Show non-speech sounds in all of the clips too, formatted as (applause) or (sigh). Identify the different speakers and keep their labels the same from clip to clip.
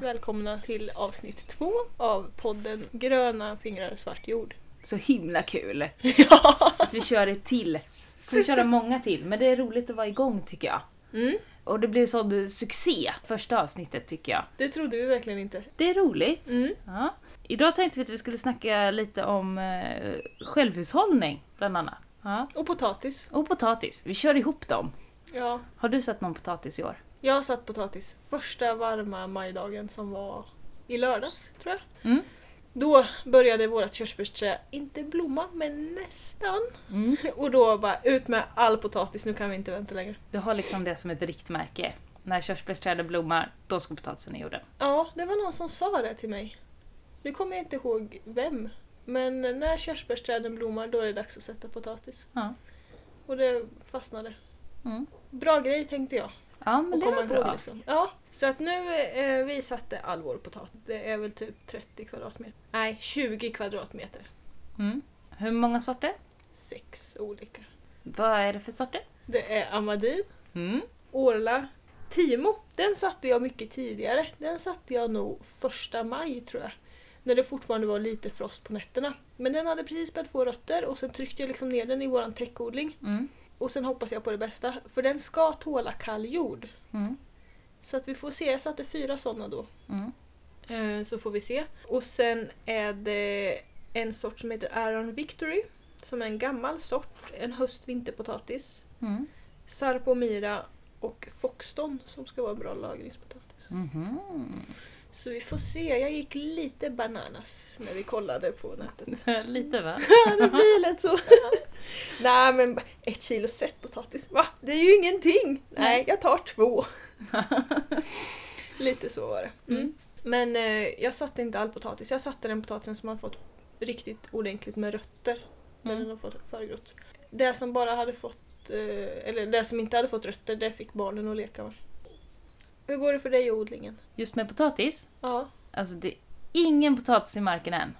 Speaker 1: Välkomna till avsnitt två av podden Gröna fingrar svart jord. (laughs)
Speaker 2: Så himla kul
Speaker 1: ja!
Speaker 2: att vi kör ett till. Vi kommer köra många till, men det är roligt att vara igång tycker jag.
Speaker 1: Mm,
Speaker 2: Och det blir sån succé, första avsnittet tycker jag.
Speaker 1: det trodde vi verkligen inte.
Speaker 2: Det är roligt.
Speaker 1: Mm.
Speaker 2: Ja. Idag tänkte vi att vi skulle snacka lite om eh, självhushållning, bland annat. Ja.
Speaker 1: Och potatis.
Speaker 2: Och potatis, vi kör ihop dem.
Speaker 1: Ja,
Speaker 2: Har du satt någon potatis i år?
Speaker 1: jag har satt potatis första varma majdagen som var i lördags, tror jag.
Speaker 2: Mm.
Speaker 1: Då började vårt körsbärsträd inte blomma, men nästan.
Speaker 2: Mm.
Speaker 1: (laughs) Och då bara ut med all potatis, nu kan vi inte vänta längre.
Speaker 2: Du har liksom det som ett riktmärke. När körsbärsträden blommar, då ska potatisen i jorden.
Speaker 1: Ja, det var någon som sa det till mig. Nu kommer jag inte ihåg vem. Men när körsbärsträden blommar då är det dags att sätta potatis.
Speaker 2: Ja.
Speaker 1: Och det fastnade.
Speaker 2: Mm.
Speaker 1: Bra grej tänkte jag.
Speaker 2: Ja, men
Speaker 1: att
Speaker 2: det
Speaker 1: komma
Speaker 2: var
Speaker 1: ihåg,
Speaker 2: bra.
Speaker 1: liksom. Ja, så att nu eh, vi satte all vår potatis. Det är väl typ 30 kvadratmeter. Nej, 20 kvadratmeter.
Speaker 2: Mm. Hur många sorter?
Speaker 1: Sex olika.
Speaker 2: Vad är det för sorter?
Speaker 1: Det är amadin,
Speaker 2: Mm.
Speaker 1: orla, timo. Den satte jag mycket tidigare. Den satte jag nog första maj tror jag. När det fortfarande var lite frost på nätterna. Men den hade precis börjat få rötter och sen tryckte jag liksom ner den i våran täckodling.
Speaker 2: Mm.
Speaker 1: Och sen hoppas jag på det bästa. För den ska tåla kall jord.
Speaker 2: Mm.
Speaker 1: Så att vi får se. Jag satte fyra sådana då.
Speaker 2: Mm.
Speaker 1: Eh, Så får vi se. Och sen är det en sort som heter Aron Victory. Som är en gammal sort. En höst-vinterpotatis.
Speaker 2: Mm.
Speaker 1: Sarpomira och Foxton som ska vara en bra lagringspotatis.
Speaker 2: Mhm.
Speaker 1: Så vi får se. Jag gick lite bananas när vi kollade på nätet.
Speaker 2: (laughs) Lite va?
Speaker 1: (laughs) Ja, det blir lätt så. (laughs) Nej men ett kilo sett potatis, va? Det är ju ingenting! Nej, jag tar två. (laughs) Lite så var det. Mm.
Speaker 2: Mm.
Speaker 1: Men eh, jag satte inte all potatis. Jag satte den potatisen som har fått riktigt ordentligt med rötter. När
Speaker 2: Mm.
Speaker 1: den har fått förgrott. Det som bara hade fått, eh, eller det som inte hade fått rötter, det fick barnen att leka med. Hur går det för dig i odlingen?
Speaker 2: Just med potatis,
Speaker 1: Ja.
Speaker 2: alltså det är ingen potatis i marken än.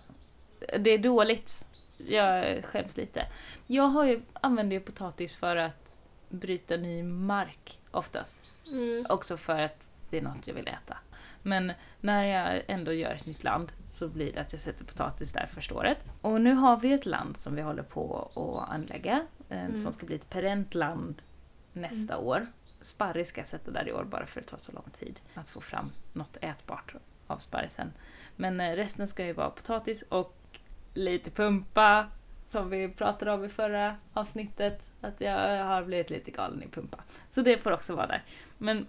Speaker 2: Det är dåligt. Jag skäms lite. Jag har ju, använder ju potatis för att bryta ny mark oftast.
Speaker 1: Mm.
Speaker 2: Också för att det är något jag vill äta. Men när jag ändå gör ett nytt land så blir det att jag sätter potatis där första året. Och nu har vi ett land som vi håller på att anlägga eh,
Speaker 1: Mm.
Speaker 2: som ska bli ett perent land nästa år. Sparris ska jag sätta där i år bara för att det tar så lång tid att få fram något ätbart av sparrisen. Men eh, resten ska ju vara potatis och lite pumpa som vi pratade om i förra avsnittet. Att jag har blivit lite galen i pumpa. Så det får också vara där. Men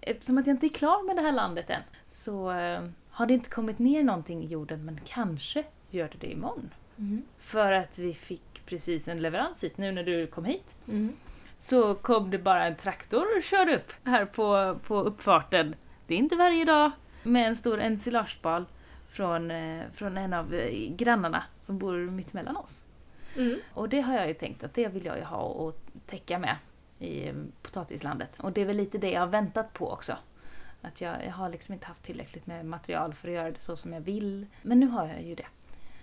Speaker 2: eftersom att jag inte är klar med det här landet än så eh, har det inte kommit ner någonting i jorden men kanske gör det det imorgon.
Speaker 1: Mm.
Speaker 2: För att vi fick precis en leverans hit nu när du kom hit.
Speaker 1: Mm.
Speaker 2: Så kom det bara en traktor och körde upp här på, på uppfarten. Det är inte varje dag. Med en stor ensilagebal från, eh, från en av eh, grannarna som bor mitt emellan oss.
Speaker 1: Mm.
Speaker 2: Och det har jag ju tänkt att det vill jag ju ha och täcka med i eh, potatislandet. Och det är väl lite det jag har väntat på också. Att jag, jag har liksom inte haft tillräckligt med material för att göra det så som jag vill. Men nu har jag ju det.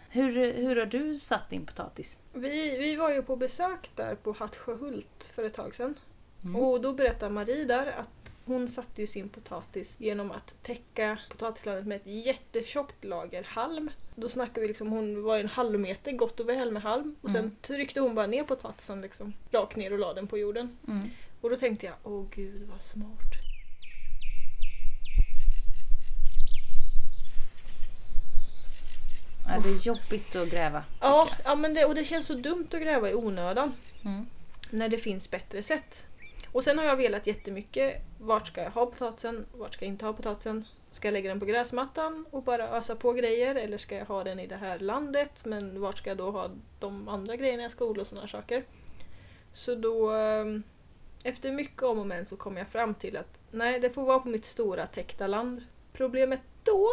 Speaker 2: Hur, hur har du satt din potatis?
Speaker 1: Vi, vi var ju på besök där på Hattsjöhult för ett tag sedan.
Speaker 2: Mm.
Speaker 1: Och då berättade Marie där att hon satte ju sin potatis genom att täcka potatislandet med ett jättetjockt lager halm. Då snackar vi liksom, hon var ju en halvmeter gott och väl med halm. Och sen
Speaker 2: Mm.
Speaker 1: tryckte hon bara ner potatisen liksom, rakt ner och la den på jorden.
Speaker 2: Mm.
Speaker 1: Och då tänkte jag, åh gud vad smart.
Speaker 2: Ja, det är jobbigt att gräva. tycker
Speaker 1: Ja,
Speaker 2: jag.
Speaker 1: ja men det, och det känns så dumt att gräva i onödan.
Speaker 2: Mm.
Speaker 1: när det finns bättre sätt. Och sen har jag velat jättemycket. Vart ska jag ha potatisen? Vart ska jag inte ha potatisen? Ska jag lägga den på gräsmattan och bara ösa på grejer? Eller ska jag ha den i det här landet? Men vart ska jag då ha de andra grejerna jag ska odla och sådana saker? Så då... eh, Efter mycket om och men så kom jag fram till att nej, det får vara på mitt stora täckta land. Problemet då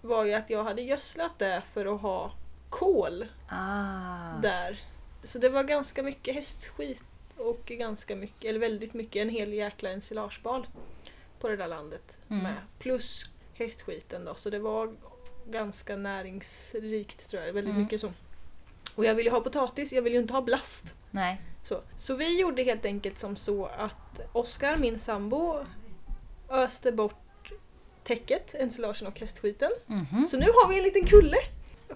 Speaker 1: var ju att jag hade gödslat det för att ha kol
Speaker 2: Ah.
Speaker 1: där. Så det var ganska mycket hästskit och ganska mycket, eller väldigt mycket, en hel jäkla ensilagebal på det där landet
Speaker 2: Mm.
Speaker 1: med. Plus hästskiten då, så det var ganska näringsrikt tror jag. Väldigt
Speaker 2: Mm.
Speaker 1: mycket så. Och jag vill ju ha potatis, jag vill ju inte ha blast.
Speaker 2: Nej.
Speaker 1: Så, så vi gjorde helt enkelt som så att Oskar, min sambo, öste bort täcket, ensilagen och hästskiten.
Speaker 2: Mhm.
Speaker 1: Så nu har vi en liten kulle!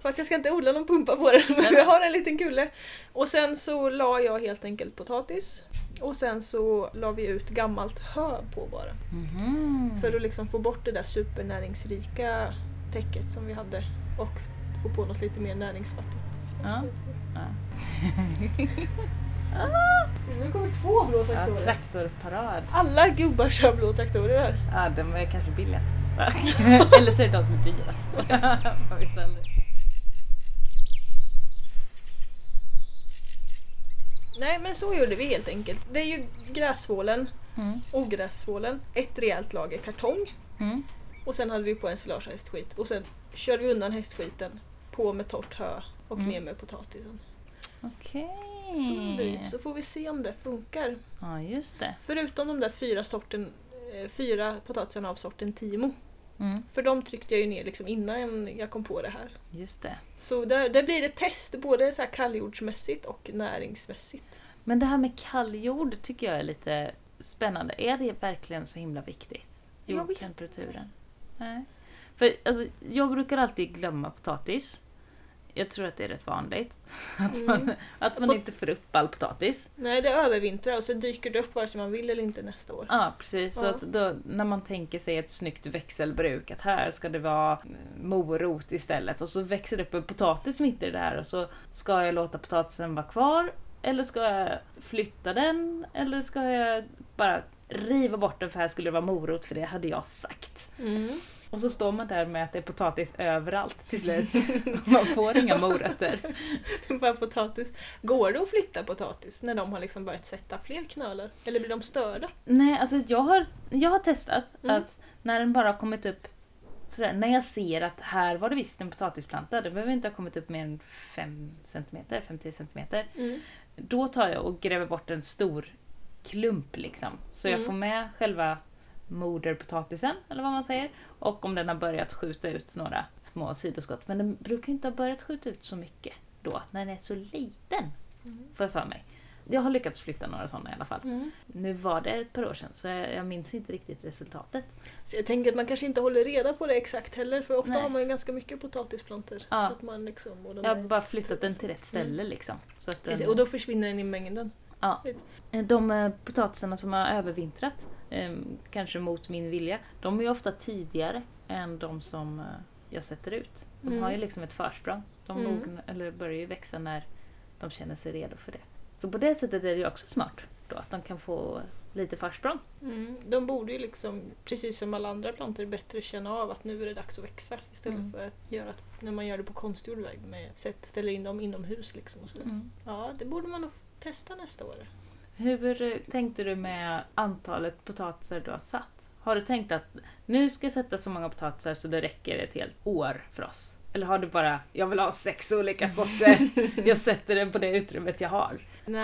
Speaker 1: Fast jag ska inte odla någon pumpa på den, (laughs) men vi har en liten kulle. Och sen så la jag helt enkelt potatis. Och sen så la vi ut gammalt hö på bara.
Speaker 2: Mhm.
Speaker 1: För att liksom få bort det där supernäringsrika täcket som vi hade och få på något lite mer näringsfattigt.
Speaker 2: Ja.
Speaker 1: (laughs)
Speaker 2: Ja.
Speaker 1: Nu kommer två blå
Speaker 2: Ja,
Speaker 1: traktorer.
Speaker 2: traktorparad.
Speaker 1: Ah! Alla gubbar kör blå traktorer här.
Speaker 2: Ja, den var kanske billigast. (laughs) Eller så är det de som är (laughs) dyrast. Man vet aldrig.
Speaker 1: Nej men så gjorde vi helt enkelt. Det är ju gräsvålen,
Speaker 2: Mm.
Speaker 1: ogräsvålen, ett rejält lager kartong
Speaker 2: Mm.
Speaker 1: och sen hade vi på ensilage och hästskit och sen körde vi undan hästskiten på med torrt hö och
Speaker 2: Mm.
Speaker 1: ner med potatisen. Så,
Speaker 2: Okej.
Speaker 1: blir- så får vi se om det funkar.
Speaker 2: Ja, just det.
Speaker 1: Förutom de där fyra, sorten, eh, fyra potatisarna av sorten Timo.
Speaker 2: Mm.
Speaker 1: För de tryckte jag ju ner liksom innan jag kom på det här.
Speaker 2: Just det.
Speaker 1: Så där, där blir det test både så här kalljordsmässigt och näringsmässigt.
Speaker 2: Men det här med kalljord tycker jag är lite spännande. Är det verkligen så himla viktigt?
Speaker 1: Jag vet
Speaker 2: Jordtemperaturen? Nej. För, alltså, jag brukar alltid glömma potatis. Jag tror att det är rätt vanligt. (laughs) Att man,
Speaker 1: Mm.
Speaker 2: att man
Speaker 1: Pot-
Speaker 2: inte får upp all potatis.
Speaker 1: Nej, det övervintrar och så dyker det upp vare sig man vill eller inte nästa år.
Speaker 2: Ja, precis. Så
Speaker 1: Ja.
Speaker 2: att då, när man tänker sig ett snyggt växelbruk, att här ska det vara eh, morot istället och så växer det upp en potatis mitt i det här och så ska jag låta potatisen vara kvar eller ska jag flytta den eller ska jag bara riva bort den för här skulle det vara morot för det hade jag sagt.
Speaker 1: Mm.
Speaker 2: Och så står man där med att det är potatis överallt till slut. man får inga morötter.
Speaker 1: (laughs) Bara potatis. Går det att flytta potatis när de har liksom börjat sätta fler knölar? Eller blir de störda?
Speaker 2: Nej, alltså jag har, jag har testat
Speaker 1: Mm.
Speaker 2: att när den bara har kommit upp sådär, när jag ser att här var det visst en potatisplanta, den behöver inte ha kommit upp mer än 5 cm, 5-10 cm. Då tar jag och gräver bort en stor klump liksom. Så jag
Speaker 1: Mm.
Speaker 2: får med själva moderpotatisen, eller vad man säger. Och om den har börjat skjuta ut några små sidoskott. Men den brukar inte ha börjat skjuta ut så mycket då, när den är så liten.
Speaker 1: Mm.
Speaker 2: Får jag för mig. Jag har lyckats flytta några sådana i alla fall.
Speaker 1: Mm.
Speaker 2: Nu var det ett par år sedan så jag, jag minns inte riktigt resultatet.
Speaker 1: Så jag tänker att man kanske inte håller reda på det exakt heller för ofta
Speaker 2: Nej.
Speaker 1: har man ju ganska mycket potatisplantor.
Speaker 2: Ja.
Speaker 1: Så att man liksom, och, de
Speaker 2: Jag har
Speaker 1: är-
Speaker 2: bara flyttat den till rätt ställe liksom. Så att den,
Speaker 1: och då försvinner den i mängden.
Speaker 2: ja. De eh, potatisarna som har övervintrat, eh, kanske mot min vilja, de är ju ofta tidigare än de som eh, jag sätter ut. De
Speaker 1: Mm.
Speaker 2: har ju liksom ett försprång. De
Speaker 1: Mm.
Speaker 2: mogna, eller börjar ju växa när de känner sig redo för det. Så på det sättet är det ju också smart då, att de kan få lite försprång.
Speaker 1: Mm, de borde ju liksom, precis som alla andra plantor, bättre känna av att nu är det dags att växa istället
Speaker 2: Mm.
Speaker 1: för att göra att, när man gör det på konstgjord väg med sätt, ställer in dem inomhus liksom och sådär.
Speaker 2: Mm.
Speaker 1: Ja, det borde man nog testa nästa år.
Speaker 2: Hur eh, tänkte du med antalet potatisar du har satt? Har du tänkt att nu ska jag sätta så många potatisar så det räcker ett helt år för oss? Eller har du bara, jag vill ha sex olika (laughs) sorter, jag sätter den på det utrymmet jag har?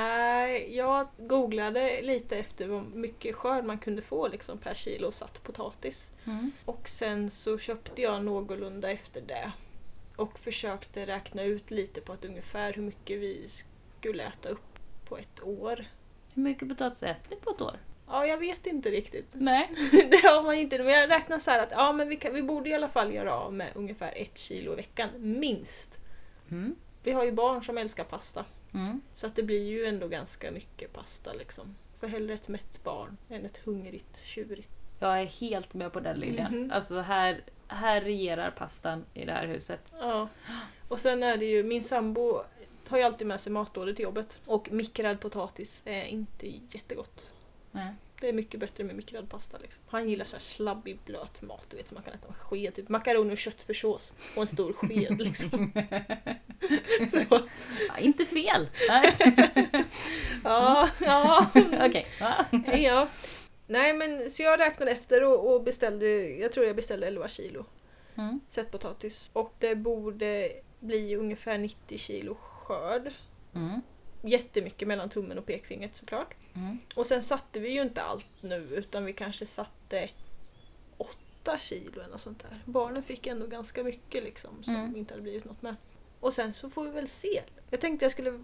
Speaker 1: Nej, jag googlade lite efter vad mycket skörd man kunde få liksom per kilo satt potatis.
Speaker 2: Mm.
Speaker 1: Och sen så köpte jag någorlunda efter det. Och försökte räkna ut lite på att ungefär hur mycket vi skulle äta upp på ett år.
Speaker 2: Hur mycket potatis äter ni på ett år?
Speaker 1: Ja, jag vet inte riktigt. (laughs)
Speaker 2: Nej.
Speaker 1: det har man inte. Men jag räknar så här att ja, men vi, kan, vi borde i alla fall göra av med ungefär ett kilo i veckan, minst.
Speaker 2: Mm.
Speaker 1: Vi har ju barn som älskar pasta.
Speaker 2: Mm.
Speaker 1: Så att det blir ju ändå ganska mycket pasta liksom. För hellre ett mätt barn än ett hungrigt tjurigt.
Speaker 2: Jag är helt med på den linjen.
Speaker 1: Mhm.
Speaker 2: Alltså här, här regerar pastan i det här huset.
Speaker 1: Ja. Och sen är det ju, min sambo tar ju alltid med sig matlådor till jobbet. Och mikrad potatis är inte jättegott.
Speaker 2: Nej.
Speaker 1: Det är mycket bättre med mikrad pasta liksom. Han gillar så här slabbig blöt mat, du vet som man kan äta med sked. Typ makaroner och köttfärssås och en stor sked liksom. så,
Speaker 2: Ja, inte fel! (laughs) Nej.
Speaker 1: ja,
Speaker 2: (laughs)
Speaker 1: ja.
Speaker 2: Okej. Ja.
Speaker 1: ja. Nej men så jag räknade efter och, och beställde, jag tror jag beställde 11 kilo
Speaker 2: Mm.
Speaker 1: sättpotatis. Och det borde bli ungefär 90 kilo skörd.
Speaker 2: Mm.
Speaker 1: Jättemycket mellan tummen och pekfingret såklart.
Speaker 2: Mm.
Speaker 1: Och sen satte vi ju inte allt nu utan vi kanske satte 8 kilo eller något sånt där. Barnen fick ändå ganska mycket liksom som
Speaker 2: Mm.
Speaker 1: inte hade blivit något med. Och sen så får vi väl se. Jag tänkte jag skulle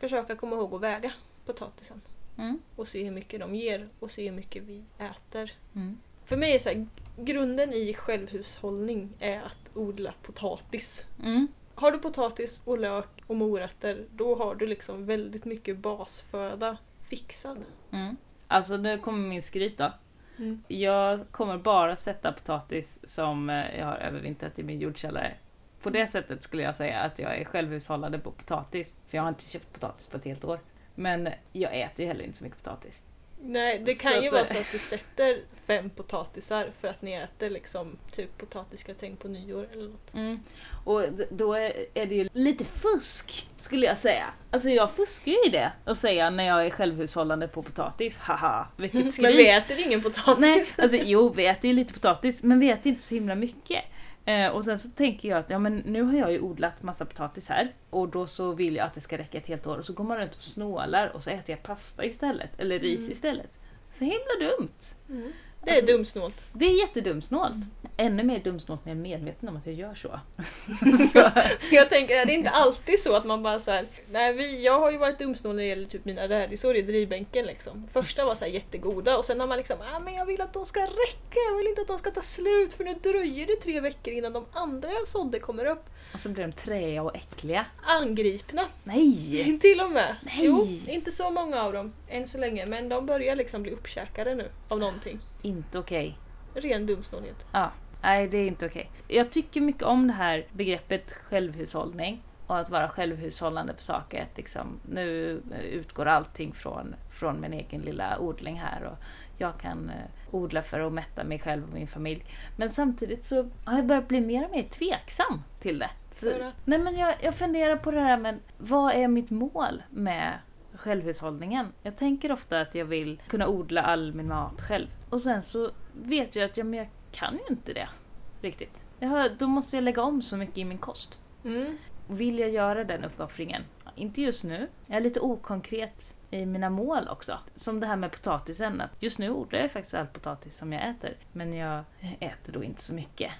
Speaker 1: försöka komma ihåg att väga potatisen
Speaker 2: Mm.
Speaker 1: och se hur mycket de ger och se hur mycket vi äter.
Speaker 2: Mm.
Speaker 1: För mig är så här, grunden i självhushållning är att odla potatis.
Speaker 2: Mm.
Speaker 1: Har du potatis och lök och morötter, då har du liksom väldigt mycket basföda fixad.
Speaker 2: Mm. Alltså nu kommer min skryt då. Mm. Jag kommer bara sätta potatis som eh, jag har övervintrat i min jordkällare. På det sättet skulle jag säga att jag är självhushållande på potatis. För jag har inte köpt potatis på ett helt år. Men jag äter ju heller inte så mycket potatis.
Speaker 1: Nej, det
Speaker 2: Så
Speaker 1: kan ju
Speaker 2: att-
Speaker 1: vara så att du sätter fem potatisar för att ni äter liksom typ potatisgratäng på nyår eller något.
Speaker 2: Och d- då är är det ju lite fusk, skulle jag säga. Alltså jag fuskar ju i det och säga när jag är självhushållande på potatis. Haha, vilket
Speaker 1: (laughs) Men vi
Speaker 2: skryt!
Speaker 1: äter ingen potatis.
Speaker 2: Nej, alltså jo, vi äter ju lite potatis, men vi äter inte så himla mycket. Eh, och sen så tänker jag att ja, men nu har jag ju odlat massa potatis här och då så vill jag att det ska räcka ett helt år och så går man runt och snålar och så äter jag pasta istället, eller ris
Speaker 1: Mm.
Speaker 2: istället. Så himla dumt!
Speaker 1: Mm. (laughs) Det är
Speaker 2: Alltså-
Speaker 1: dumsnålt.
Speaker 2: Det är jättedumsnålt. Ännu mer dumsnålt när jag är medveten om att jag gör så. (laughs) så
Speaker 1: (laughs) Jag tänker, är det inte alltid så att man bara så här, nej vi, jag har ju varit dumsnål när det gäller typ mina rädisor i drivbänken liksom. Första var så här jättegoda och sen har man liksom, ah, men jag vill att de ska räcka, jag vill inte att de ska ta slut för nu dröjer det tre veckor innan de andra jag sådde kommer upp.
Speaker 2: och så blir de träiga och äckliga.
Speaker 1: Angripna
Speaker 2: Nej!
Speaker 1: (laughs) till och med.
Speaker 2: Nej.
Speaker 1: Jo, inte så många av dem än så länge men de börjar liksom bli uppkäkade nu av någonting.
Speaker 2: Inte okej.
Speaker 1: Ren dumsnålhet.
Speaker 2: Ja, nej det är inte okej. Jag tycker mycket om det här begreppet självhushållning och att vara självhushållande på saker. Att liksom, nu utgår allting från, från min egen lilla odling här och jag kan eh, odla för att mätta mig själv och min familj. Men samtidigt så har jag börjat bli mer och mer tveksam till det. Så,
Speaker 1: För att-
Speaker 2: nej men jag, jag funderar på det här men vad är mitt mål med självhushållningen. Jag tänker ofta att jag vill kunna odla all min mat själv. Och sen så vet jag att ja, men jag kan ju inte det riktigt. Jag har, då måste jag lägga om så mycket i min kost.
Speaker 1: Mm.
Speaker 2: Vill jag göra den uppoffringen? Inte just nu. Jag är lite okonkret i mina mål också. Som det här med potatisen. Att just nu odlar jag faktiskt all potatis som jag äter. Men jag äter då inte så mycket.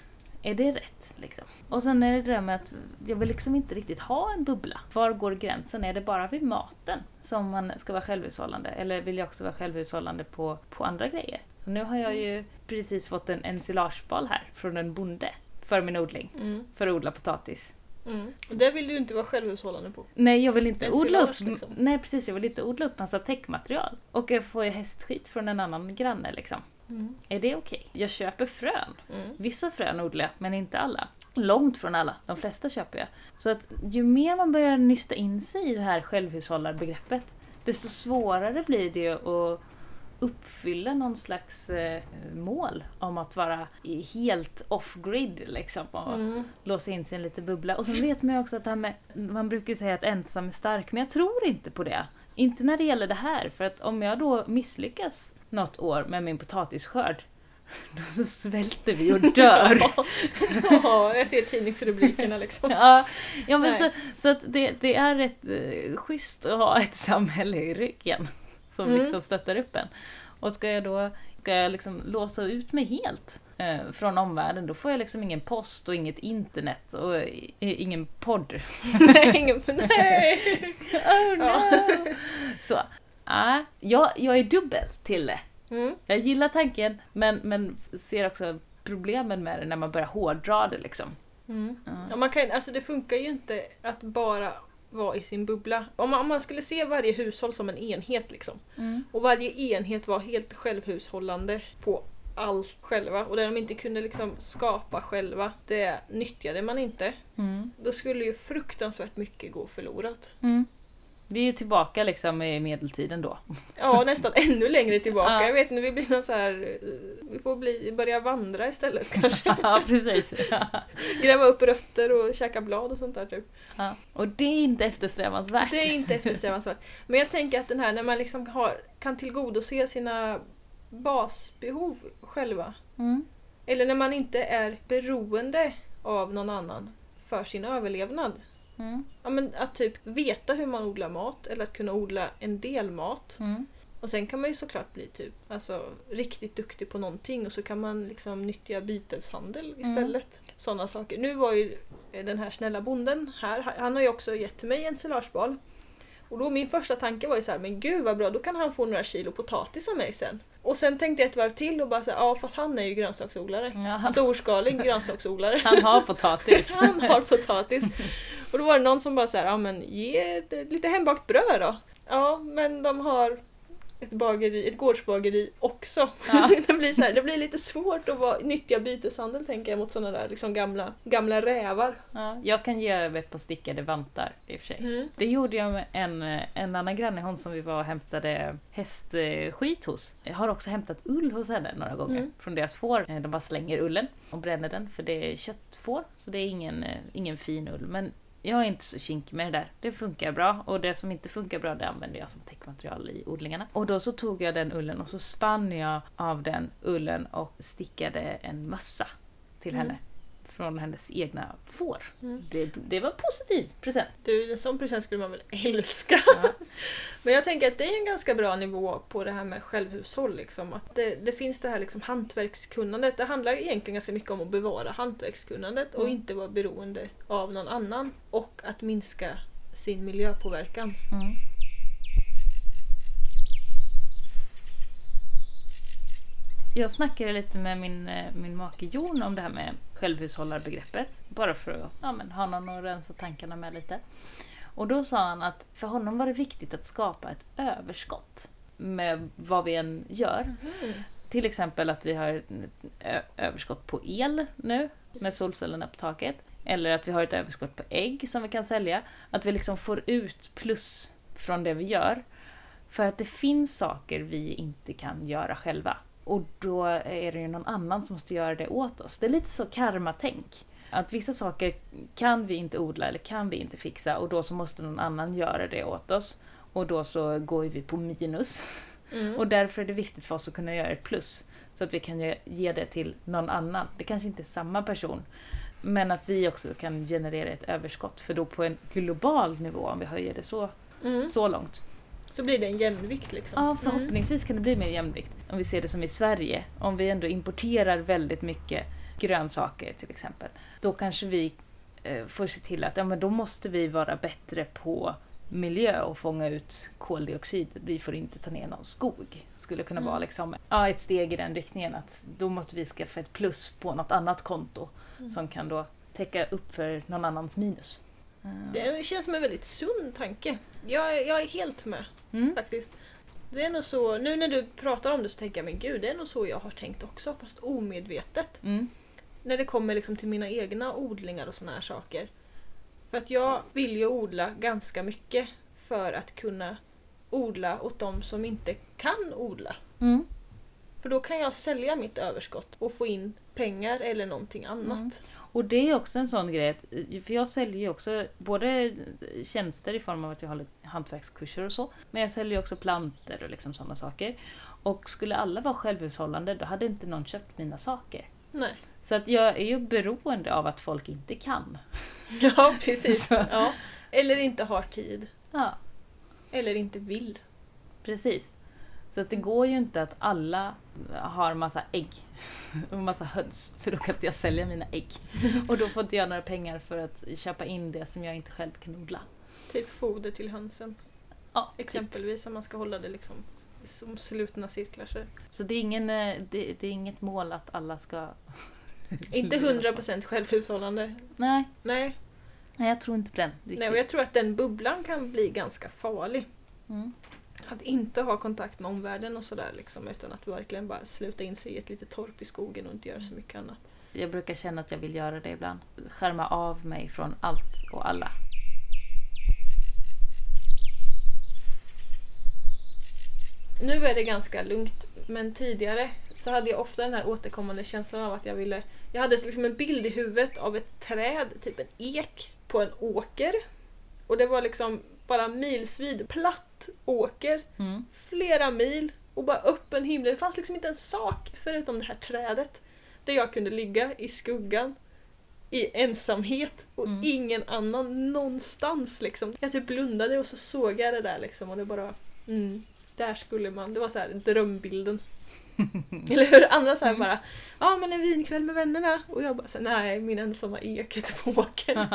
Speaker 2: Är det rätt liksom? Och sen är det det där med att jag vill liksom inte riktigt ha en bubbla. Var går gränsen? Är det bara vid maten som man ska vara självhushållande? Eller vill jag också vara självhushållande på, på andra grejer? Så nu har jag ju precis fått en ensilagebal här från en bonde för min odling.
Speaker 1: Mm.
Speaker 2: För att odla potatis.
Speaker 1: Mm. Det vill du inte vara självhushållande på.
Speaker 2: Nej, jag vill inte odla upp,
Speaker 1: Ensilage, liksom.
Speaker 2: nej, precis, jag vill inte odla upp massa täckmaterial. Och jag får ju hästskit från en annan granne liksom.
Speaker 1: Mm.
Speaker 2: Är det okej? Jag köper frön.
Speaker 1: Mm.
Speaker 2: Vissa frön odlar jag, men inte alla. Långt från alla. De flesta köper jag. Så att ju mer man börjar nysta in sig i det här självhushållarbegreppet, desto svårare blir det ju att uppfylla någon slags eh, mål om att vara i- helt off-grid liksom. Och
Speaker 1: Mm.
Speaker 2: låsa in sig i en liten bubbla. Och sen vet man ju också att det här med, man brukar ju säga att ensam är stark, men jag tror inte på det. Inte när det gäller det här, för att om jag då misslyckas något år med min potatisskörd, (laughs) då så svälter vi och
Speaker 1: (laughs)
Speaker 2: dör.
Speaker 1: ja, jag ser tidningsrubrikerna
Speaker 2: (laughs)
Speaker 1: liksom.
Speaker 2: Ja, ja men
Speaker 1: Nej.
Speaker 2: så, så att det, det är rätt eh, schysst att ha ett (laughs) samhälle i ryggen som
Speaker 1: Mm.
Speaker 2: liksom stöttar upp en. Och ska jag då ska jag liksom låsa ut mig helt eh, från omvärlden, då får jag liksom ingen post och inget internet och i, i- ingen podd.
Speaker 1: nej, ingen, nej! (laughs)
Speaker 2: Oh
Speaker 1: Ja.
Speaker 2: no! (laughs) Så, ah, jag, jag är dubbel till det.
Speaker 1: Mm.
Speaker 2: Jag gillar tanken, men, men ser också problemen med det när man börjar hårdra det liksom.
Speaker 1: Mm.
Speaker 2: Ja.
Speaker 1: Ja, man kan, alltså det funkar ju inte att bara vara i sin bubbla. Om man, om man skulle se varje hushåll som en enhet liksom. Och varje enhet var helt självhushållande på allt själva. Och det de inte kunde liksom skapa själva, det nyttjade man inte.
Speaker 2: Mm.
Speaker 1: Då skulle ju fruktansvärt mycket gå förlorat.
Speaker 2: Mm. Vi är ju tillbaka liksom i
Speaker 1: (laughs)
Speaker 2: medeltiden då. (laughs)
Speaker 1: Ja, nästan ännu längre tillbaka.
Speaker 2: Ja.
Speaker 1: Jag vet inte, vi blir någon så här... eh, Vi får bli, börja vandra istället kanske.
Speaker 2: (laughs) ja, precis.
Speaker 1: Gräva upp rötter och käka blad och sånt där typ.
Speaker 2: Ja. Och det är inte eftersträvansvärt.
Speaker 1: Det är inte eftersträvansvärt. Men jag tänker att den här när man liksom har, kan tillgodose sina basbehov själva.
Speaker 2: (laughs) Mm.
Speaker 1: Eller när man inte är beroende av någon annan för sin överlevnad.
Speaker 2: Mm.
Speaker 1: Ja, men att typ veta hur man odlar mat eller att kunna odla en del mat.
Speaker 2: Mm.
Speaker 1: Och sen kan man ju såklart bli typ alltså, riktigt duktig på någonting och så kan man liksom nyttja
Speaker 2: Mm.
Speaker 1: byteshandel istället. Sådana saker. Nu var ju eh, den här snälla bonden här, ha- han har ju också gett mig en solagebal. Och då min första tanke var ju så här, men gud vad bra, då kan han få några kilo potatis av mig sen. Och sen tänkte jag ett varv till och bara så här, ja fast han är ju grönsaksodlare.
Speaker 2: Ja, han,
Speaker 1: Storskalig grönsaksodlare.
Speaker 2: Mm. (laughs) han har
Speaker 1: (laughs)
Speaker 2: potatis.
Speaker 1: Han har potatis. Och då var det någon som bara så här, ja men ge det lite hembakt bröd då. Ja, men de har ett bageri, ett gårdsbageri också.
Speaker 2: Ja.
Speaker 1: (laughs) det, blir så här, det blir lite svårt att vara, nyttja byteshandel tänker jag mot sådana där liksom gamla, gamla rävar.
Speaker 2: Ja, jag kan ge över ett par stickade vantar i och för sig. Det gjorde jag med en, en annan granne, hon som vi var och hämtade hästskit hos. Jag har också hämtat ull hos henne några gånger
Speaker 1: Mm.
Speaker 2: från deras får. Eh, De bara slänger ullen och bränner den för det är köttfår, så det är ingen, eh, ingen fin ull. Men jag är inte så kinkig med det där. Det funkar bra och det som inte funkar bra det använder jag som täckmaterial i odlingarna. Och då så tog jag den ullen och så spann jag av den ullen och stickade en mössa till
Speaker 1: Mm.
Speaker 2: henne från hennes egna får.
Speaker 1: Mm.
Speaker 2: Det, det var en positiv present.
Speaker 1: Du, en sån present skulle man väl (laughs) älska?
Speaker 2: Ja.
Speaker 1: Men jag tänker att det är en ganska bra nivå på det här med självhushåll. Liksom. Att det, det finns det här liksom hantverkskunnandet. Det handlar egentligen ganska mycket om att bevara hantverkskunnandet och
Speaker 2: Mm.
Speaker 1: inte vara beroende av någon annan. Och att minska sin miljöpåverkan.
Speaker 2: Mm. Jag snackade lite med min, eh, min make Jon om det här med självhushållarbegreppet. Bara för att ja, men, ha någon att rensa tankarna med lite. Och då sa han att för honom var det viktigt att skapa ett överskott med vad vi än gör. Till exempel att vi har ett ö- överskott på el nu med solcellerna på taket. Eller att vi har ett överskott på ägg som vi kan sälja. Att vi liksom får ut plus från det vi gör. För att det finns saker vi inte kan göra själva. Och då är det ju någon annan som måste göra det åt oss. Det är lite så karmatänk. Att vissa saker kan vi inte odla eller kan vi inte fixa och då så måste någon annan göra det åt oss. Och då så går vi på minus.
Speaker 1: Mm.
Speaker 2: Och därför är det viktigt för oss att kunna göra ett plus. Så att vi kan ge- ge det till någon annan. Det kanske inte är samma person. Men att vi också kan generera ett överskott. För då på en global nivå, om vi höjer det så,
Speaker 1: Mm.
Speaker 2: så långt.
Speaker 1: Så blir det en jämvikt liksom.
Speaker 2: Ja, förhoppningsvis kan det bli mer jämvikt. Om vi ser det som i Sverige. Om vi ändå importerar väldigt mycket grönsaker till exempel. Då kanske vi eh, får se till att ja, men då måste vi vara bättre på miljö och fånga ut koldioxid. Vi får inte ta ner någon skog. Skulle kunna
Speaker 1: Mm.
Speaker 2: vara liksom, ja, ett steg i den riktningen att då måste vi skaffa ett plus på något annat konto
Speaker 1: Mm.
Speaker 2: som kan då täcka upp för någon annans minus. Eh,
Speaker 1: Det känns som en väldigt sund tanke. Jag, är- jag är helt med
Speaker 2: Mm.
Speaker 1: faktiskt. Det är nog så, nu när du pratar om det så tänker jag men gud det är nog så jag har tänkt också fast omedvetet.
Speaker 2: Mm.
Speaker 1: när det kommer liksom till mina egna odlingar och såna här saker. För att jag vill ju odla ganska mycket för att kunna odla åt de som inte kan odla.
Speaker 2: Mm.
Speaker 1: För då kan jag sälja mitt överskott och få in pengar eller någonting annat.
Speaker 2: Mm. Och det är också en sån grej, att, för jag säljer ju också både tjänster i form av att jag håller hantverkskurser och så, men jag säljer ju också planter och liksom sådana saker. Och skulle alla vara självhushållande då hade inte någon köpt mina saker.
Speaker 1: Nej.
Speaker 2: Så att jag är ju beroende av att folk inte kan.
Speaker 1: (laughs) Ja, precis.
Speaker 2: Så.
Speaker 1: (laughs) Ja. Eller inte har tid.
Speaker 2: Ja,
Speaker 1: Eller inte vill.
Speaker 2: precis. Så att det går ju inte att alla har massa ägg (laughs) och massa höns, för då kan inte jag sälja mina ägg. Och då får inte jag några pengar för att köpa in det som jag inte själv kan odla.
Speaker 1: Typ foder till hönsen.
Speaker 2: Ja, typ.
Speaker 1: Exempelvis om man ska hålla det liksom som slutna cirklar. (laughs) Så.
Speaker 2: Så det är, ingen, eh, det, det är inget mål att alla ska...
Speaker 1: Inte 100% självhushållande.
Speaker 2: Nej,
Speaker 1: Nej,
Speaker 2: nej jag tror inte på den riktigt.
Speaker 1: Nej, och jag tror att den bubblan kan bli ganska farlig.
Speaker 2: mm.
Speaker 1: Att inte ha kontakt med omvärlden och sådär liksom, utan att verkligen bara sluta in sig i ett litet torp i skogen och inte göra så mycket annat.
Speaker 2: jag brukar känna att jag vill göra det ibland. Skärma av mig från allt och alla.
Speaker 1: Nu är det ganska lugnt, men tidigare så hade jag ofta den här återkommande känslan av att jag ville... Jag hade liksom en bild i huvudet av ett träd, typ en ek, på en åker. Och det var liksom bara milsvid, platt åker,
Speaker 2: Mm. (laughs)
Speaker 1: flera mil och bara öppen himmel. Det fanns liksom inte en sak förutom det här trädet. Där jag kunde ligga i skuggan i ensamhet och
Speaker 2: Mm.
Speaker 1: ingen annan någonstans liksom. Jag typ blundade och så
Speaker 2: (laughs)
Speaker 1: såg jag det där liksom och det bara... Mm, där skulle man... Det var så här drömbilden. Eller hur? Andra så här
Speaker 2: Mm.
Speaker 1: bara Ja men en vinkväll med vännerna och jag bara så, här, nej min ensamma ek ute på åkern.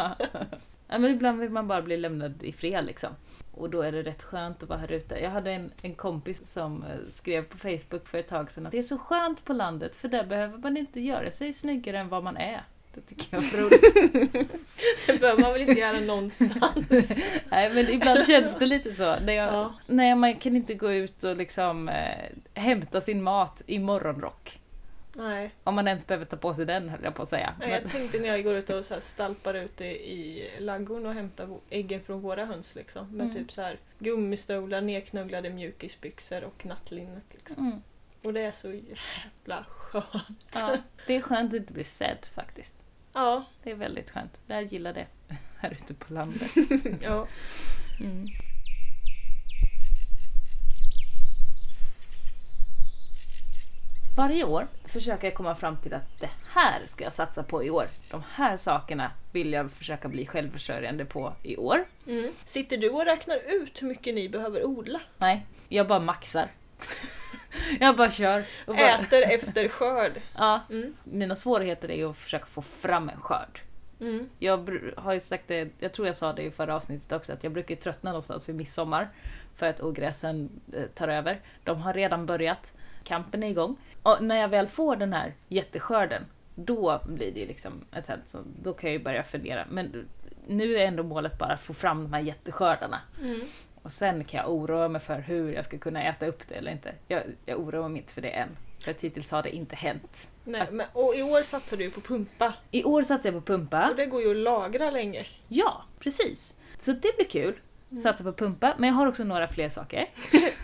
Speaker 2: ja, men ibland vill man bara bli lämnad i fred liksom. Och då är det rätt skönt att vara här ute. Jag hade en, en kompis som eh, skrev på Facebook för ett tag sedan att det är så skönt på landet för där behöver man inte göra sig snyggare än vad man är. Det tycker jag var roligt.
Speaker 1: (laughs) Det behöver man väl inte göra
Speaker 2: (laughs)
Speaker 1: någonstans.
Speaker 2: Nej men ibland känns det lite så. När jag,
Speaker 1: Ja.
Speaker 2: Nej man kan inte gå ut och liksom eh, hämta sin mat i morgonrock.
Speaker 1: Nej.
Speaker 2: Om man ens behöver ta på sig den höll jag på att säga.
Speaker 1: Nej, Jag tänkte när jag går ut och så här stalpar ute i ladugården och hämtar vo- äggen från våra höns liksom. Med
Speaker 2: Mm.
Speaker 1: typ så här gummistövlar, nedknögglade mjukisbyxor och nattlinnet liksom.
Speaker 2: Men, mm,
Speaker 1: Och det är så jävla skönt.
Speaker 2: ja, det är skönt att inte bli sedd faktiskt.
Speaker 1: Ja.
Speaker 2: Det är väldigt skönt. Jag gillar det. Här ute på landet.
Speaker 1: ja.
Speaker 2: Mm. Varje år försöker jag komma fram till att det här ska jag satsa på i år. De här sakerna vill jag försöka bli självförsörjande på i år.
Speaker 1: Mm. Sitter du och räknar ut hur mycket ni behöver odla?
Speaker 2: Nej, jag bara maxar. (laughs) jag bara kör. Och bara,
Speaker 1: Äter efter skörd.
Speaker 2: ja,
Speaker 1: Mm.
Speaker 2: mina svårigheter är ju att försöka få fram en skörd.
Speaker 1: Mm.
Speaker 2: Jag br- har ju sagt det, jag tror jag sa det i förra avsnittet också, att jag brukar ju tröttna någonstans vid midsommar för att ogräsen eh, tar över. De har redan börjat, kampen är igång. Och när jag väl får den här jätteskörden, då blir det ju liksom ett sånt, så då kan jag ju börja fundera. Men nu är ändå målet bara att få fram de här jätteskördarna.
Speaker 1: Mm.
Speaker 2: Och sen kan jag oroa mig för hur jag ska kunna äta upp det eller inte. Jag, jag oroar mig inte för det än. För att hittills har det inte hänt.
Speaker 1: Nej, men, och i år satsar du ju på pumpa.
Speaker 2: I år satsar jag på pumpa.
Speaker 1: Och det går ju att lagra (laughs) länge.
Speaker 2: Ja, precis. Så det blir kul.
Speaker 1: Mm.
Speaker 2: Satsa på pumpa, men jag har också några fler saker.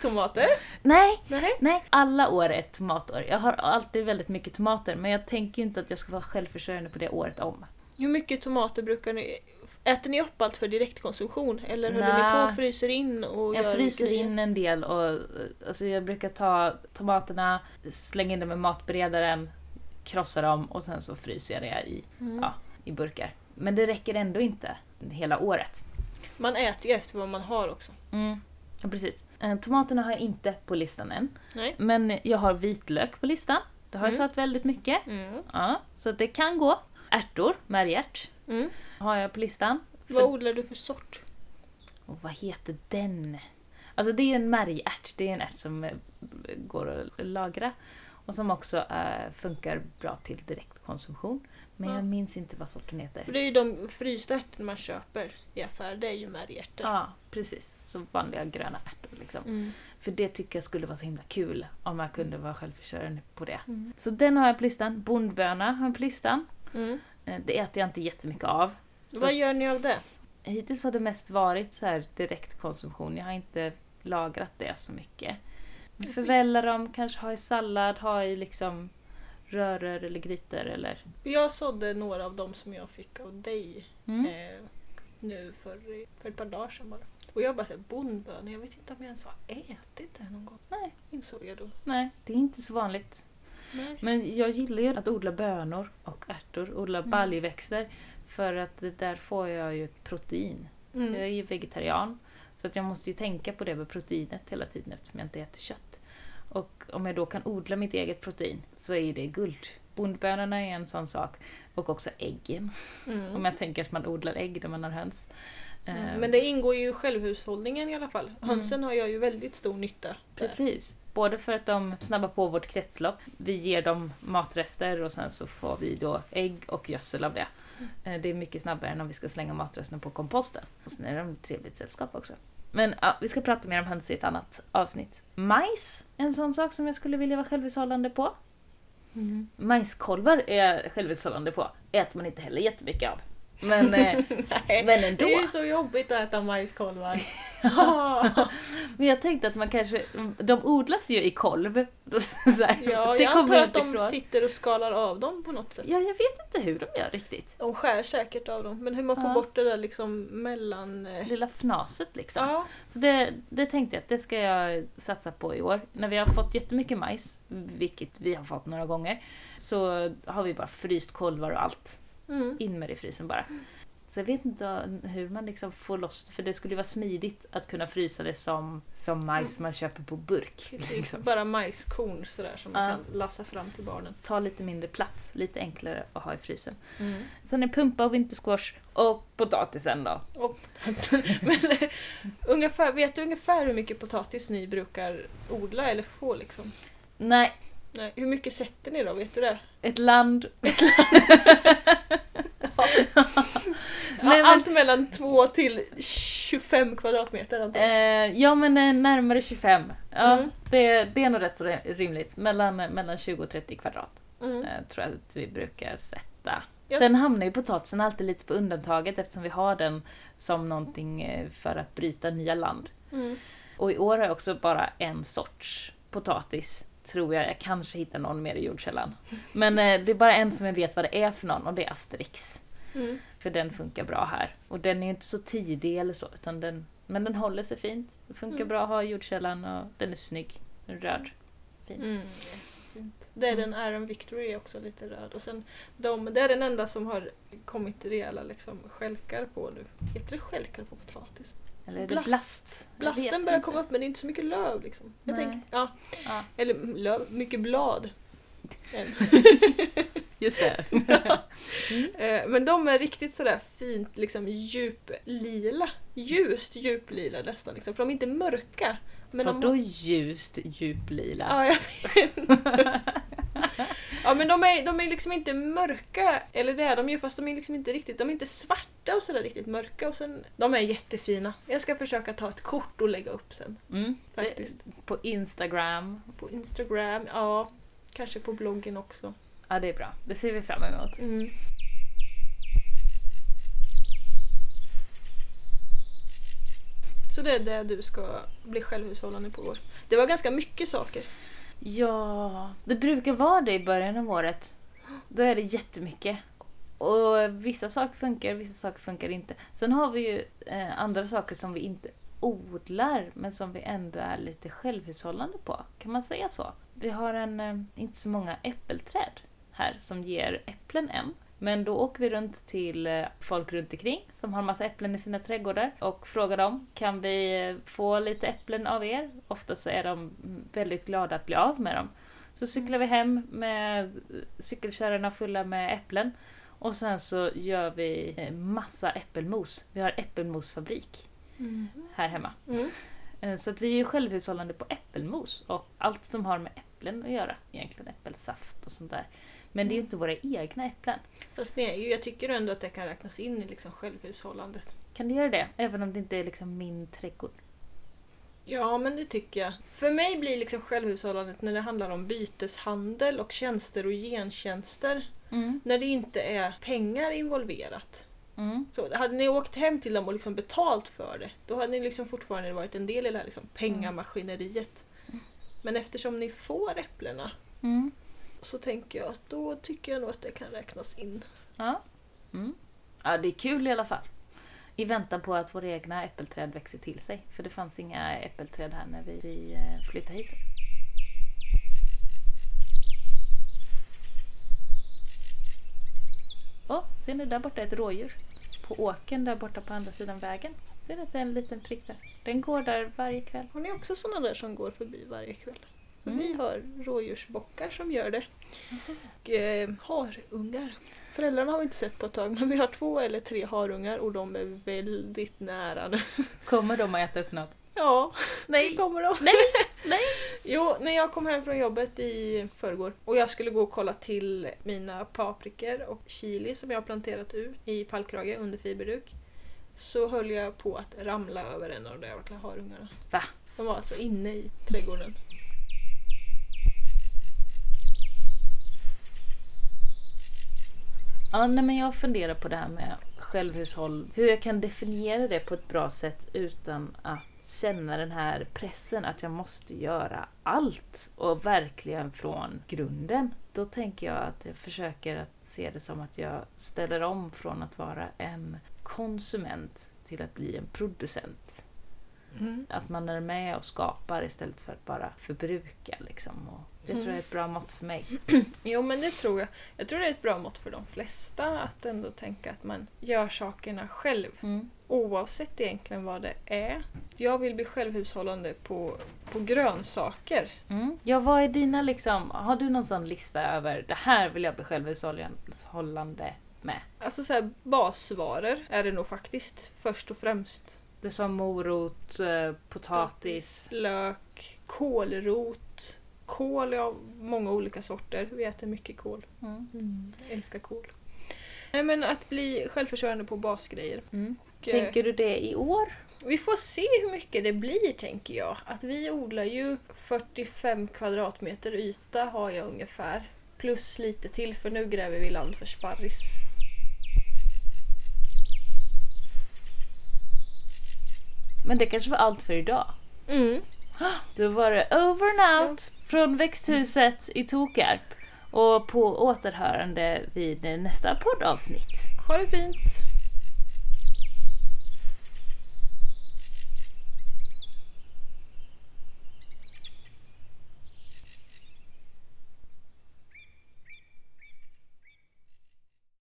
Speaker 1: Tomater?
Speaker 2: Nej,
Speaker 1: Nej.
Speaker 2: nej. Alla år är ett tomatår. Jag har alltid väldigt mycket tomater, men jag tänker inte att jag ska vara självförsörjande på det året om.
Speaker 1: Hur mycket tomater brukar ni... Äter ni upp allt för direktkonsumtion? Eller håller
Speaker 2: Nej.
Speaker 1: ni på och fryser in? Och
Speaker 2: Jag
Speaker 1: gör
Speaker 2: fryser
Speaker 1: grejer?
Speaker 2: in en del och eh, alltså jag brukar ta tomaterna, slänga in dem i matberedaren, krossa dem och sen så fryser jag det i,
Speaker 1: Mm.
Speaker 2: ja, i burkar. Men det räcker ändå inte hela året.
Speaker 1: Man äter ju efter vad man har också.
Speaker 2: Mm. Ja, precis. Eh, Tomaterna har jag inte på listan än.
Speaker 1: Nej.
Speaker 2: Men jag har vitlök på listan. Det har jag
Speaker 1: Mm.
Speaker 2: satt väldigt mycket.
Speaker 1: Mm.
Speaker 2: Ja, så det kan gå. Ärtor, märgärt,
Speaker 1: Mm.
Speaker 2: har jag på listan.
Speaker 1: Vad odlar du för sort?
Speaker 2: Och vad heter den? Alltså det är ju en märgärt. Det är en ärt som eh, går att lagra. Och som också eh, funkar bra till direktkonsumtion. Men
Speaker 1: Ja.
Speaker 2: jag minns inte vad sorten
Speaker 1: För
Speaker 2: heter.
Speaker 1: det är ju de frysta ärtorna man köper i affär, det är ju märgärtor.
Speaker 2: Ja, precis. Så vanliga gröna ärtor liksom.
Speaker 1: Mm.
Speaker 2: För det tycker jag skulle vara så himla kul om jag kunde vara självförsörjande på det.
Speaker 1: Mm.
Speaker 2: Så den har jag på listan. Bondböna har jag på listan.
Speaker 1: Mm.
Speaker 2: Eh, Det äter jag inte jättemycket av. Så
Speaker 1: Vad gör ni av det?
Speaker 2: Hittills har det mest varit så här direktkonsumtion. Jag har inte lagrat det så mycket.
Speaker 1: Mm.
Speaker 2: Förvälla dem, kanske ha i sallad, ha i liksom röror eller grytor eller...
Speaker 1: Jag sådde några av dem som jag fick av dig
Speaker 2: Mm.
Speaker 1: eh, nu för, för ett par dagar sedan bara. Och jag bara såhär, bondbönor, jag vet inte om jag ens har ätit det någon gång.
Speaker 2: Nej.
Speaker 1: Insåg jag då.
Speaker 2: Nej, det är inte så vanligt.
Speaker 1: Nej.
Speaker 2: Men jag gillar ju att odla bönor och ärtor, odla
Speaker 1: Mm.
Speaker 2: baljväxter. För att det där får jag ju ett protein. Jag är
Speaker 1: Mm.
Speaker 2: ju vegetarian. Så att jag måste ju tänka på det med proteinet hela tiden eftersom jag inte äter kött. Och om jag då kan odla mitt eget protein så är ju det guld. Bondbönorna är en sån sak. Och också äggen. Om
Speaker 1: Mm.
Speaker 2: jag tänker att man odlar ägg när man har höns. Eh,
Speaker 1: Mm. Men det ingår ju i självhushållningen i alla fall. Hönsen har jag ju väldigt stor nytta där. (laughs)
Speaker 2: Precis. Både för att de snabbar på vårt kretslopp. Vi ger dem matrester och sen så får vi då ägg och gödsel av det. Eh, Det är mycket snabbare än om vi ska slänga matresterna på komposten. Och sen är de ett trevligt sällskap också. Men ja, vi ska prata mer om höns i ett annat avsnitt. Majs, en sån sak som jag skulle vilja vara självhushållande på.
Speaker 1: Mm.
Speaker 2: Majskolvar är jag självhushållande på. Äter man inte heller jättemycket av.
Speaker 1: (laughs)
Speaker 2: Men, eh,
Speaker 1: Nej.
Speaker 2: men ändå.
Speaker 1: Det är ju så jobbigt att äta (laughs) majskolvar. ja,
Speaker 2: Men jag tänkte att man kanske, de odlas ju i kolv. (laughs) Så här,
Speaker 1: jag antar
Speaker 2: kommer
Speaker 1: att de
Speaker 2: utifrån.
Speaker 1: sitter och skalar av dem på något sätt.
Speaker 2: Ja, jag vet inte hur de gör riktigt.
Speaker 1: De skär säkert av dem, men hur man får
Speaker 2: Ja.
Speaker 1: bort det där liksom mellan... eh,
Speaker 2: Lilla fnaset liksom.
Speaker 1: Ja.
Speaker 2: Så det, det tänkte jag att det ska jag satsa på i år. När vi har fått jättemycket majs, vilket vi har fått några gånger, så har vi bara fryst kolvar och allt.
Speaker 1: Mm.
Speaker 2: In med det i frysen bara. Så jag vet inte hur man liksom får loss För det skulle ju vara smidigt att kunna frysa det som, som majs man köper på burk.
Speaker 1: Precis,
Speaker 2: Liksom.
Speaker 1: Typ bara majskorn sådär som man
Speaker 2: Ja.
Speaker 1: kan lassa fram till barnen.
Speaker 2: Ta lite mindre plats, lite enklare att ha i frysen.
Speaker 1: Mm.
Speaker 2: Sen är pumpa och vintersquash och potatisen då.
Speaker 1: Och potatisen. (laughs) Men eh, ungefär, vet du ungefär hur mycket potatis ni brukar odla eller få liksom?
Speaker 2: Nej,
Speaker 1: Nej, hur mycket sätter ni då? Vet du det?
Speaker 2: ett land...
Speaker 1: Ja,
Speaker 2: men-
Speaker 1: Allt mellan 2 till 25 kvadratmeter antar jag.
Speaker 2: Eh, ja men eh, närmare 25. Ja,
Speaker 1: Mm.
Speaker 2: det, det är nog rätt så rimligt. Mellan, eh, mellan 20 och 30 kvadrat.
Speaker 1: Mm.
Speaker 2: eh, tror jag att vi brukar sätta.
Speaker 1: Ja.
Speaker 2: Sen hamnar ju potatisen alltid lite på undantaget eftersom vi har den som någonting eh, för att bryta nya land.
Speaker 1: Mm.
Speaker 2: Och i år har jag också bara en sorts potatis, tror jag. Jag kanske hittar någon mer i jordkällan. Men eh, det är bara en som jag vet vad det är för någon och det är Asterix.
Speaker 1: Mm.
Speaker 2: För den funkar bra här. Och den är ju inte så tidig eller så, utan den, men den håller sig fint. Den funkar
Speaker 1: Mm.
Speaker 2: bra att ha i jordkällan och den är snygg. Den är röd.
Speaker 1: Mm. det är så fint. Det är den
Speaker 2: Mm.
Speaker 1: Iron Victory är också lite röd. Och sen de, det är den enda som har kommit rejäla liksom, skälkar på nu. Heter det skälkar på potatis?
Speaker 2: Eller är det
Speaker 1: Blast.
Speaker 2: blast? Jag
Speaker 1: Blasten
Speaker 2: vet
Speaker 1: börjar
Speaker 2: inte.
Speaker 1: komma upp men det är inte så mycket löv liksom. Jag
Speaker 2: Nej.
Speaker 1: tänker, ja,
Speaker 2: Ja.
Speaker 1: eller mm, löv, mycket
Speaker 2: (laughs)
Speaker 1: blad. Än.
Speaker 2: Just det. (laughs)
Speaker 1: Eh, Men de är riktigt sådär fint liksom djuplila. Ljust djuplila nästan. Liksom. För de är inte mörka. Men de
Speaker 2: Vadå ljust djuplila?
Speaker 1: Ja, jag ja men de är, de är liksom inte mörka, eller det är de ju fast de är liksom inte riktigt, de är inte svarta och sådär riktigt mörka och sen, de är jättefina. Jag ska försöka ta ett kort och lägga upp sen
Speaker 2: Mm.
Speaker 1: faktiskt.
Speaker 2: På Instagram.
Speaker 1: På Instagram, ja, kanske på bloggen också.
Speaker 2: Ja, det är bra. Det ser vi fram emot.
Speaker 1: Mm. Så det är det du ska bli självhushållande på år. Det var ganska mycket saker.
Speaker 2: Ja, det brukar vara det i början av året. Då är det jättemycket. Och vissa saker funkar, vissa saker funkar inte. Sen har vi ju eh, andra saker som vi inte odlar, men som vi ändå är lite självhushållande på. Kan man säga så? Vi har en, eh, inte så många äppelträd här som ger äpplen än. Men då åker vi runt till eh, folk runt omkring som har massa äpplen i sina trädgårdar och frågar dem, kan vi eh, få lite äpplen av er? Ofta så är de väldigt glada att bli av med dem. Så cyklar vi hem med cykelkärrorna fulla med äpplen och sen så gör vi eh, massa äppelmos. Vi har äppelmosfabrik här hemma.
Speaker 1: Mm.
Speaker 2: Eh, Så att vi är ju självhushållande på äppelmos och allt som har med äpplen att göra egentligen. Äppelsaft och sånt där. Men det är ju inte våra egna äpplen.
Speaker 1: Fast nej, jag tycker ändå att det kan räknas in i liksom självhushållandet.
Speaker 2: Kan du göra det? Även om det inte är liksom min trädgård.
Speaker 1: Ja, men det tycker jag. För mig blir liksom självhushållandet när det handlar om byteshandel och tjänster och gentjänster.
Speaker 2: Mm.
Speaker 1: När det inte är pengar involverat.
Speaker 2: Mm.
Speaker 1: Så hade ni åkt hem till dem och liksom betalt för det, då hade ni liksom fortfarande varit en del i det här liksom pengamaskineriet. Men eftersom ni får äpplena
Speaker 2: Mm.
Speaker 1: så tänker jag att då tycker jag nog att det kan räknas in.
Speaker 2: Ja. Mm. ja, det är kul i alla fall. I väntan på att våra egna äppelträd växer till sig. För det fanns inga äppelträd här när vi, vi eh, flyttade hit. Åh, ser ni där borta ett rådjur? På åken där borta på andra sidan vägen. Ser ni att det är en liten prick där? Den går där varje kväll.
Speaker 1: Har ni också sådana där som går förbi varje kväll? För
Speaker 2: Mm.
Speaker 1: Vi har rådjursbockar som gör det. Och eh, harungar. Föräldrarna har vi inte sett på ett tag men vi har två eller tre harungar och de är väldigt nära nu.
Speaker 2: Kommer de att äta upp något?
Speaker 1: Ja, (laughs)
Speaker 2: Nej!
Speaker 1: nu kommer de.
Speaker 2: Nej! Nej!
Speaker 1: Jo, när jag kom hem från jobbet i förrgår och jag skulle gå och kolla till mina paprikor och chili som jag har planterat ut i pallkrage under fiberduk så höll jag på att ramla över en av de där jävla harungarna.
Speaker 2: Va?
Speaker 1: De var alltså inne i trädgården.
Speaker 2: Ja, nej, men jag funderar på det här med självhushåll. Hur jag kan definiera det på ett bra sätt utan att känna den här pressen att jag måste göra allt och verkligen från grunden. Då tänker jag att jag försöker att se det som att jag ställer om från att vara en konsument till att bli en producent.
Speaker 1: Mm.
Speaker 2: Att man är med och skapar istället för att bara förbruka. Liksom. Och det
Speaker 1: Mm.
Speaker 2: tror jag är ett bra mått för mig.
Speaker 1: Jo men det tror jag. Jag tror det är ett bra mått för de flesta att ändå tänka att man gör sakerna själv. Oavsett egentligen vad det är. Jag vill bli självhushållande på, på grönsaker.
Speaker 2: Mm. Ja, vad är dina liksom, har du någon sån lista över det här vill jag bli självhushållande med?
Speaker 1: Alltså så här, basvaror är det nog faktiskt först och främst.
Speaker 2: Du sa morot, eh, potatis.
Speaker 1: Lök, kålrot. Kål av många olika sorter. Vi äter mycket kål.
Speaker 2: Mm.
Speaker 1: Älskar kål. Nej men att bli självförsörjande på basgrejer. Och, eh,
Speaker 2: Mm. Tänker du det i år?
Speaker 1: Vi får se hur mycket det blir tänker jag. Att vi odlar ju 45 kvadratmeter yta har jag ungefär. Plus lite till för nu gräver vi land för sparris.
Speaker 2: Men det kanske var allt för idag.
Speaker 1: Mm.
Speaker 2: Då var det over and out från växthuset i Tokarp. Och på återhörande vid nästa poddavsnitt.
Speaker 1: Ha det fint!